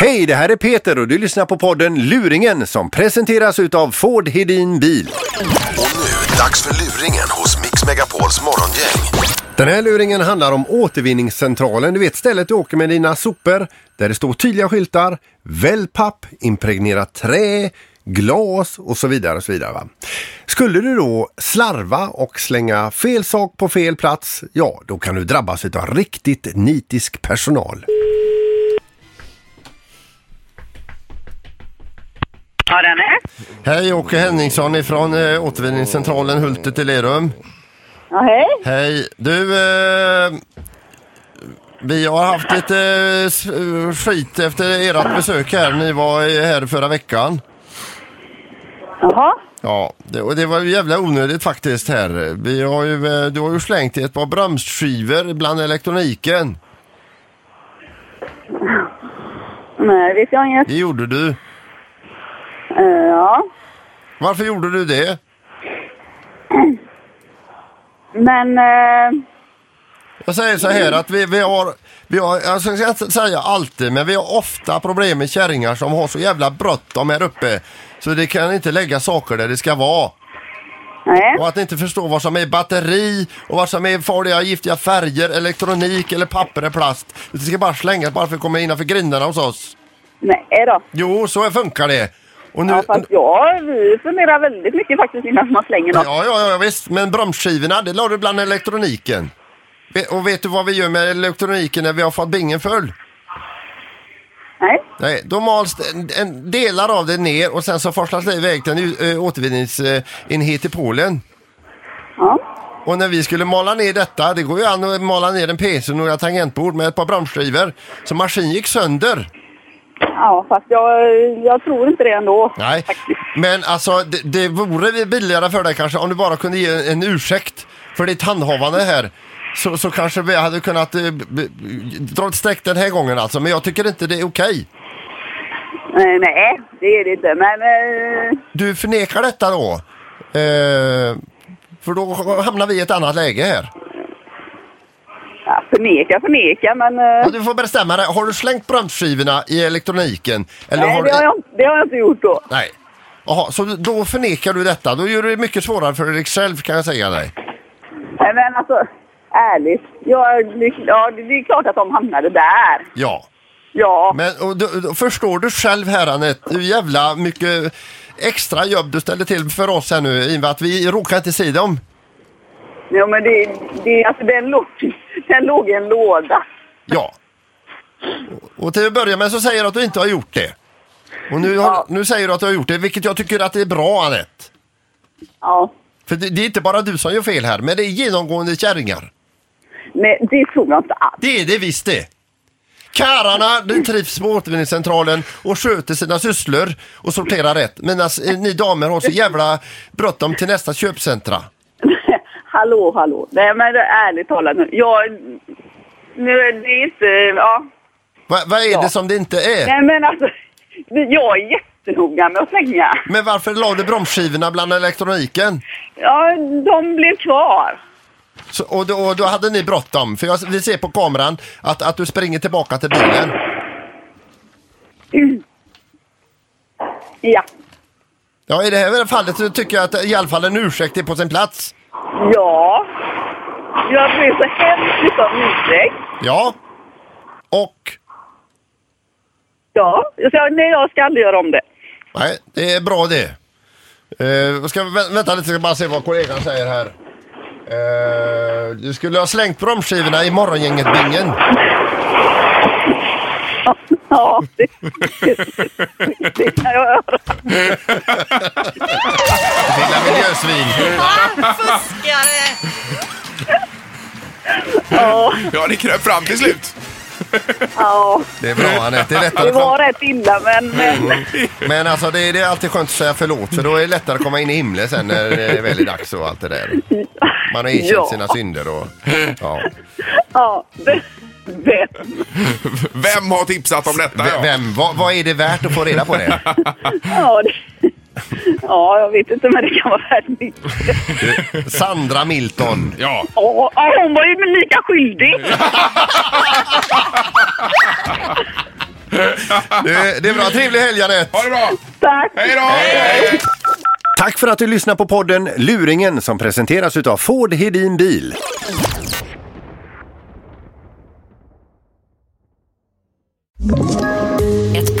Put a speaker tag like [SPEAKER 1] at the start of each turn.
[SPEAKER 1] Hej, det här är Peter och du lyssnar på podden Luringen som presenteras utav Ford Hedin Bil.
[SPEAKER 2] Och nu, dags för luringen hos Mix Megapols morgongäng.
[SPEAKER 1] Den här luringen handlar om återvinningscentralen, du vet stället du åker med dina sopor där det står tydliga skyltar, välj papp, impregnera trä, glas och så vidare. Och så vidare va? Skulle du då slarva och slänga fel sak på fel plats, ja då kan du drabbas utav riktigt nitisk personal.
[SPEAKER 3] Ja, den är.
[SPEAKER 1] Hej, Åke Henningsson ifrån eh, återvinningscentralen Hultet i Lerum.
[SPEAKER 3] Ja, hej.
[SPEAKER 1] Hej, du... Eh, vi har haft lite eh, s- eh, skit efter ert besök här. Ni var eh, här förra veckan.
[SPEAKER 3] Jaha.
[SPEAKER 1] Ja, det, och det var ju jävla onödigt faktiskt här. Vi har ju, eh, du har ju slängt ett par bromsskivor bland elektroniken.
[SPEAKER 3] Nej, vet jag inget.
[SPEAKER 1] Det gjorde du.
[SPEAKER 3] Eh, ja.
[SPEAKER 1] Varför gjorde du det?
[SPEAKER 3] Men... eh,
[SPEAKER 1] Jag säger så här att vi, vi har, vi har, jag ska inte säga alltid, men vi har ofta problem med kärringar som har så jävla bråttom här uppe. Så det kan inte lägga saker där det ska vara.
[SPEAKER 3] nej.
[SPEAKER 1] Och att ni inte förstår vad som är batteri och vad som är farliga giftiga färger, elektronik eller papper och plast. Det ska bara slängas bara för att komma innanför grindarna hos oss.
[SPEAKER 3] Nej då.
[SPEAKER 1] Jo, så funkar det. Och nu,
[SPEAKER 3] Ja, fast ja, vi funderar väldigt mycket faktiskt innan man slänger något.
[SPEAKER 1] Ja, ja, ja visst. Men bromsskivorna, det la du bland elektroniken. Ve- Och vet du vad vi gör med elektroniken när vi har fått bingen full?
[SPEAKER 3] Nej.
[SPEAKER 1] Nej, då mals det- en, en delar av det ner och sen så forslas det iväg till en u- ö, återvinningsenhet i Polen.
[SPEAKER 3] Ja.
[SPEAKER 1] Och när vi skulle mala ner detta, det går ju an att mala ner en PC och några tangentbord med ett par bromsskivor. Så maskinen gick sönder.
[SPEAKER 3] Ja, fast jag, jag tror inte det ändå.
[SPEAKER 1] Nej,
[SPEAKER 3] Faktiskt.
[SPEAKER 1] men alltså det, det vore billigare för dig kanske om du bara kunde ge en ursäkt för ditt handhavande här. Så, så kanske vi hade kunnat eh, b- b- dra ett streck den här gången alltså. Men jag tycker inte det är okej.
[SPEAKER 3] Eh, nej, det är det inte. Men... eh,
[SPEAKER 1] Du förnekar detta då? Eh, för då hamnar vi i ett annat läge här.
[SPEAKER 3] ja, förneka, förneka, men... eh,
[SPEAKER 1] Ja, du får bestämma dig. Har du slängt bromsskivorna i elektroniken? Eller
[SPEAKER 3] nej,
[SPEAKER 1] har
[SPEAKER 3] det
[SPEAKER 1] du...
[SPEAKER 3] har, jag, det har jag inte gjort då.
[SPEAKER 1] Nej. Jaha, så då förnekar du detta. Då gör du det mycket svårare för dig själv kan jag säga dig.
[SPEAKER 3] Nej, men alltså... Ärligt. Jag, ja, det är klart att de hamnade där.
[SPEAKER 1] Ja.
[SPEAKER 3] Ja.
[SPEAKER 1] Men och, du, du, förstår du själv här Anette, hur jävla mycket extra jobb du ställer till för oss här nu i och med att vi råkar inte se dem.
[SPEAKER 3] Jo, men det, det, alltså, den, låg, den låg i en låda.
[SPEAKER 1] Ja. Och, och till att börja med så säger du att du inte har gjort det. Och nu, har,
[SPEAKER 3] Ja.
[SPEAKER 1] nu säger du att du har gjort det, vilket jag tycker att det är bra Anette.
[SPEAKER 3] Ja.
[SPEAKER 1] För det, det är inte bara du som gör fel här, men det är genomgående kärringar.
[SPEAKER 3] Nej, det tror jag inte alls.
[SPEAKER 1] Det är det visst det. Karlarna de trivs på återvinningscentralen och sköter sina sysslor och sorterar rätt. Medan eh, ni damer har så jävla bråttom till nästa köpcentra.
[SPEAKER 3] hallå, hallå. Nej, men det är ärligt talat nu. Jag... Nu är det inte... Ja.
[SPEAKER 1] Va, vad är det som det inte är?
[SPEAKER 3] Nej, men alltså. Jag är jättenoga med att slänga.
[SPEAKER 1] Men varför la du bromsskivorna bland elektroniken?
[SPEAKER 3] Ja, de blev kvar.
[SPEAKER 1] Så, och, då, och då hade ni bråttom, för jag, vi ser på kameran att, att du springer tillbaka till bilen.
[SPEAKER 3] Ja.
[SPEAKER 1] Ja, i det här fallet så tycker jag att i alla fall en ursäkt är på sin plats.
[SPEAKER 3] Ja. Jag blev så hemskt mycket om ursäkt.
[SPEAKER 1] Ja. Och?
[SPEAKER 3] Ja. Så jag, nej, jag ska aldrig göra om det.
[SPEAKER 1] Nej, det är bra det. Eh, ska, vi vä- vänta lite, ska bara se vad kollegan säger här. Eh, du skulle ha slängt bromsskivorna i morgongänget-bingen.
[SPEAKER 3] Ja, det, det, det kan jag göra.
[SPEAKER 1] Lilla miljösvin.
[SPEAKER 4] Ah, fuskare!
[SPEAKER 5] Ja, det kröp fram till slut.
[SPEAKER 3] Ja,
[SPEAKER 1] Det är bra Anette, det är lättare
[SPEAKER 3] det
[SPEAKER 1] att komma-
[SPEAKER 3] var rätt illa, men...
[SPEAKER 5] Mm.
[SPEAKER 3] men
[SPEAKER 1] Men alltså det är, det är alltid skönt att säga förlåt för då är det lättare att komma in i himlen sen när det är väl är dags och allt det där. Man har erkänt
[SPEAKER 3] Ja.
[SPEAKER 1] sina synder och ja.
[SPEAKER 3] ja, det, det.
[SPEAKER 5] Vem har tipsat om detta?
[SPEAKER 1] V- Vem, vad, vad är det värt att få reda på det?
[SPEAKER 3] Ja, det, ja, jag vet inte, men det kan vara värt mycket.
[SPEAKER 1] Sandra Milton.
[SPEAKER 5] Ja.
[SPEAKER 3] Ja, ja, hon var
[SPEAKER 5] Mm.
[SPEAKER 3] ju lika skyldig.
[SPEAKER 1] Det, det är bra. Trevlig helg Anette!
[SPEAKER 5] Ha det bra!
[SPEAKER 3] Tack!
[SPEAKER 5] Hej då! Hej.
[SPEAKER 1] Tack för att du lyssnar på podden Luringen som presenteras utav Ford Hedin Bil.
[SPEAKER 6] Ett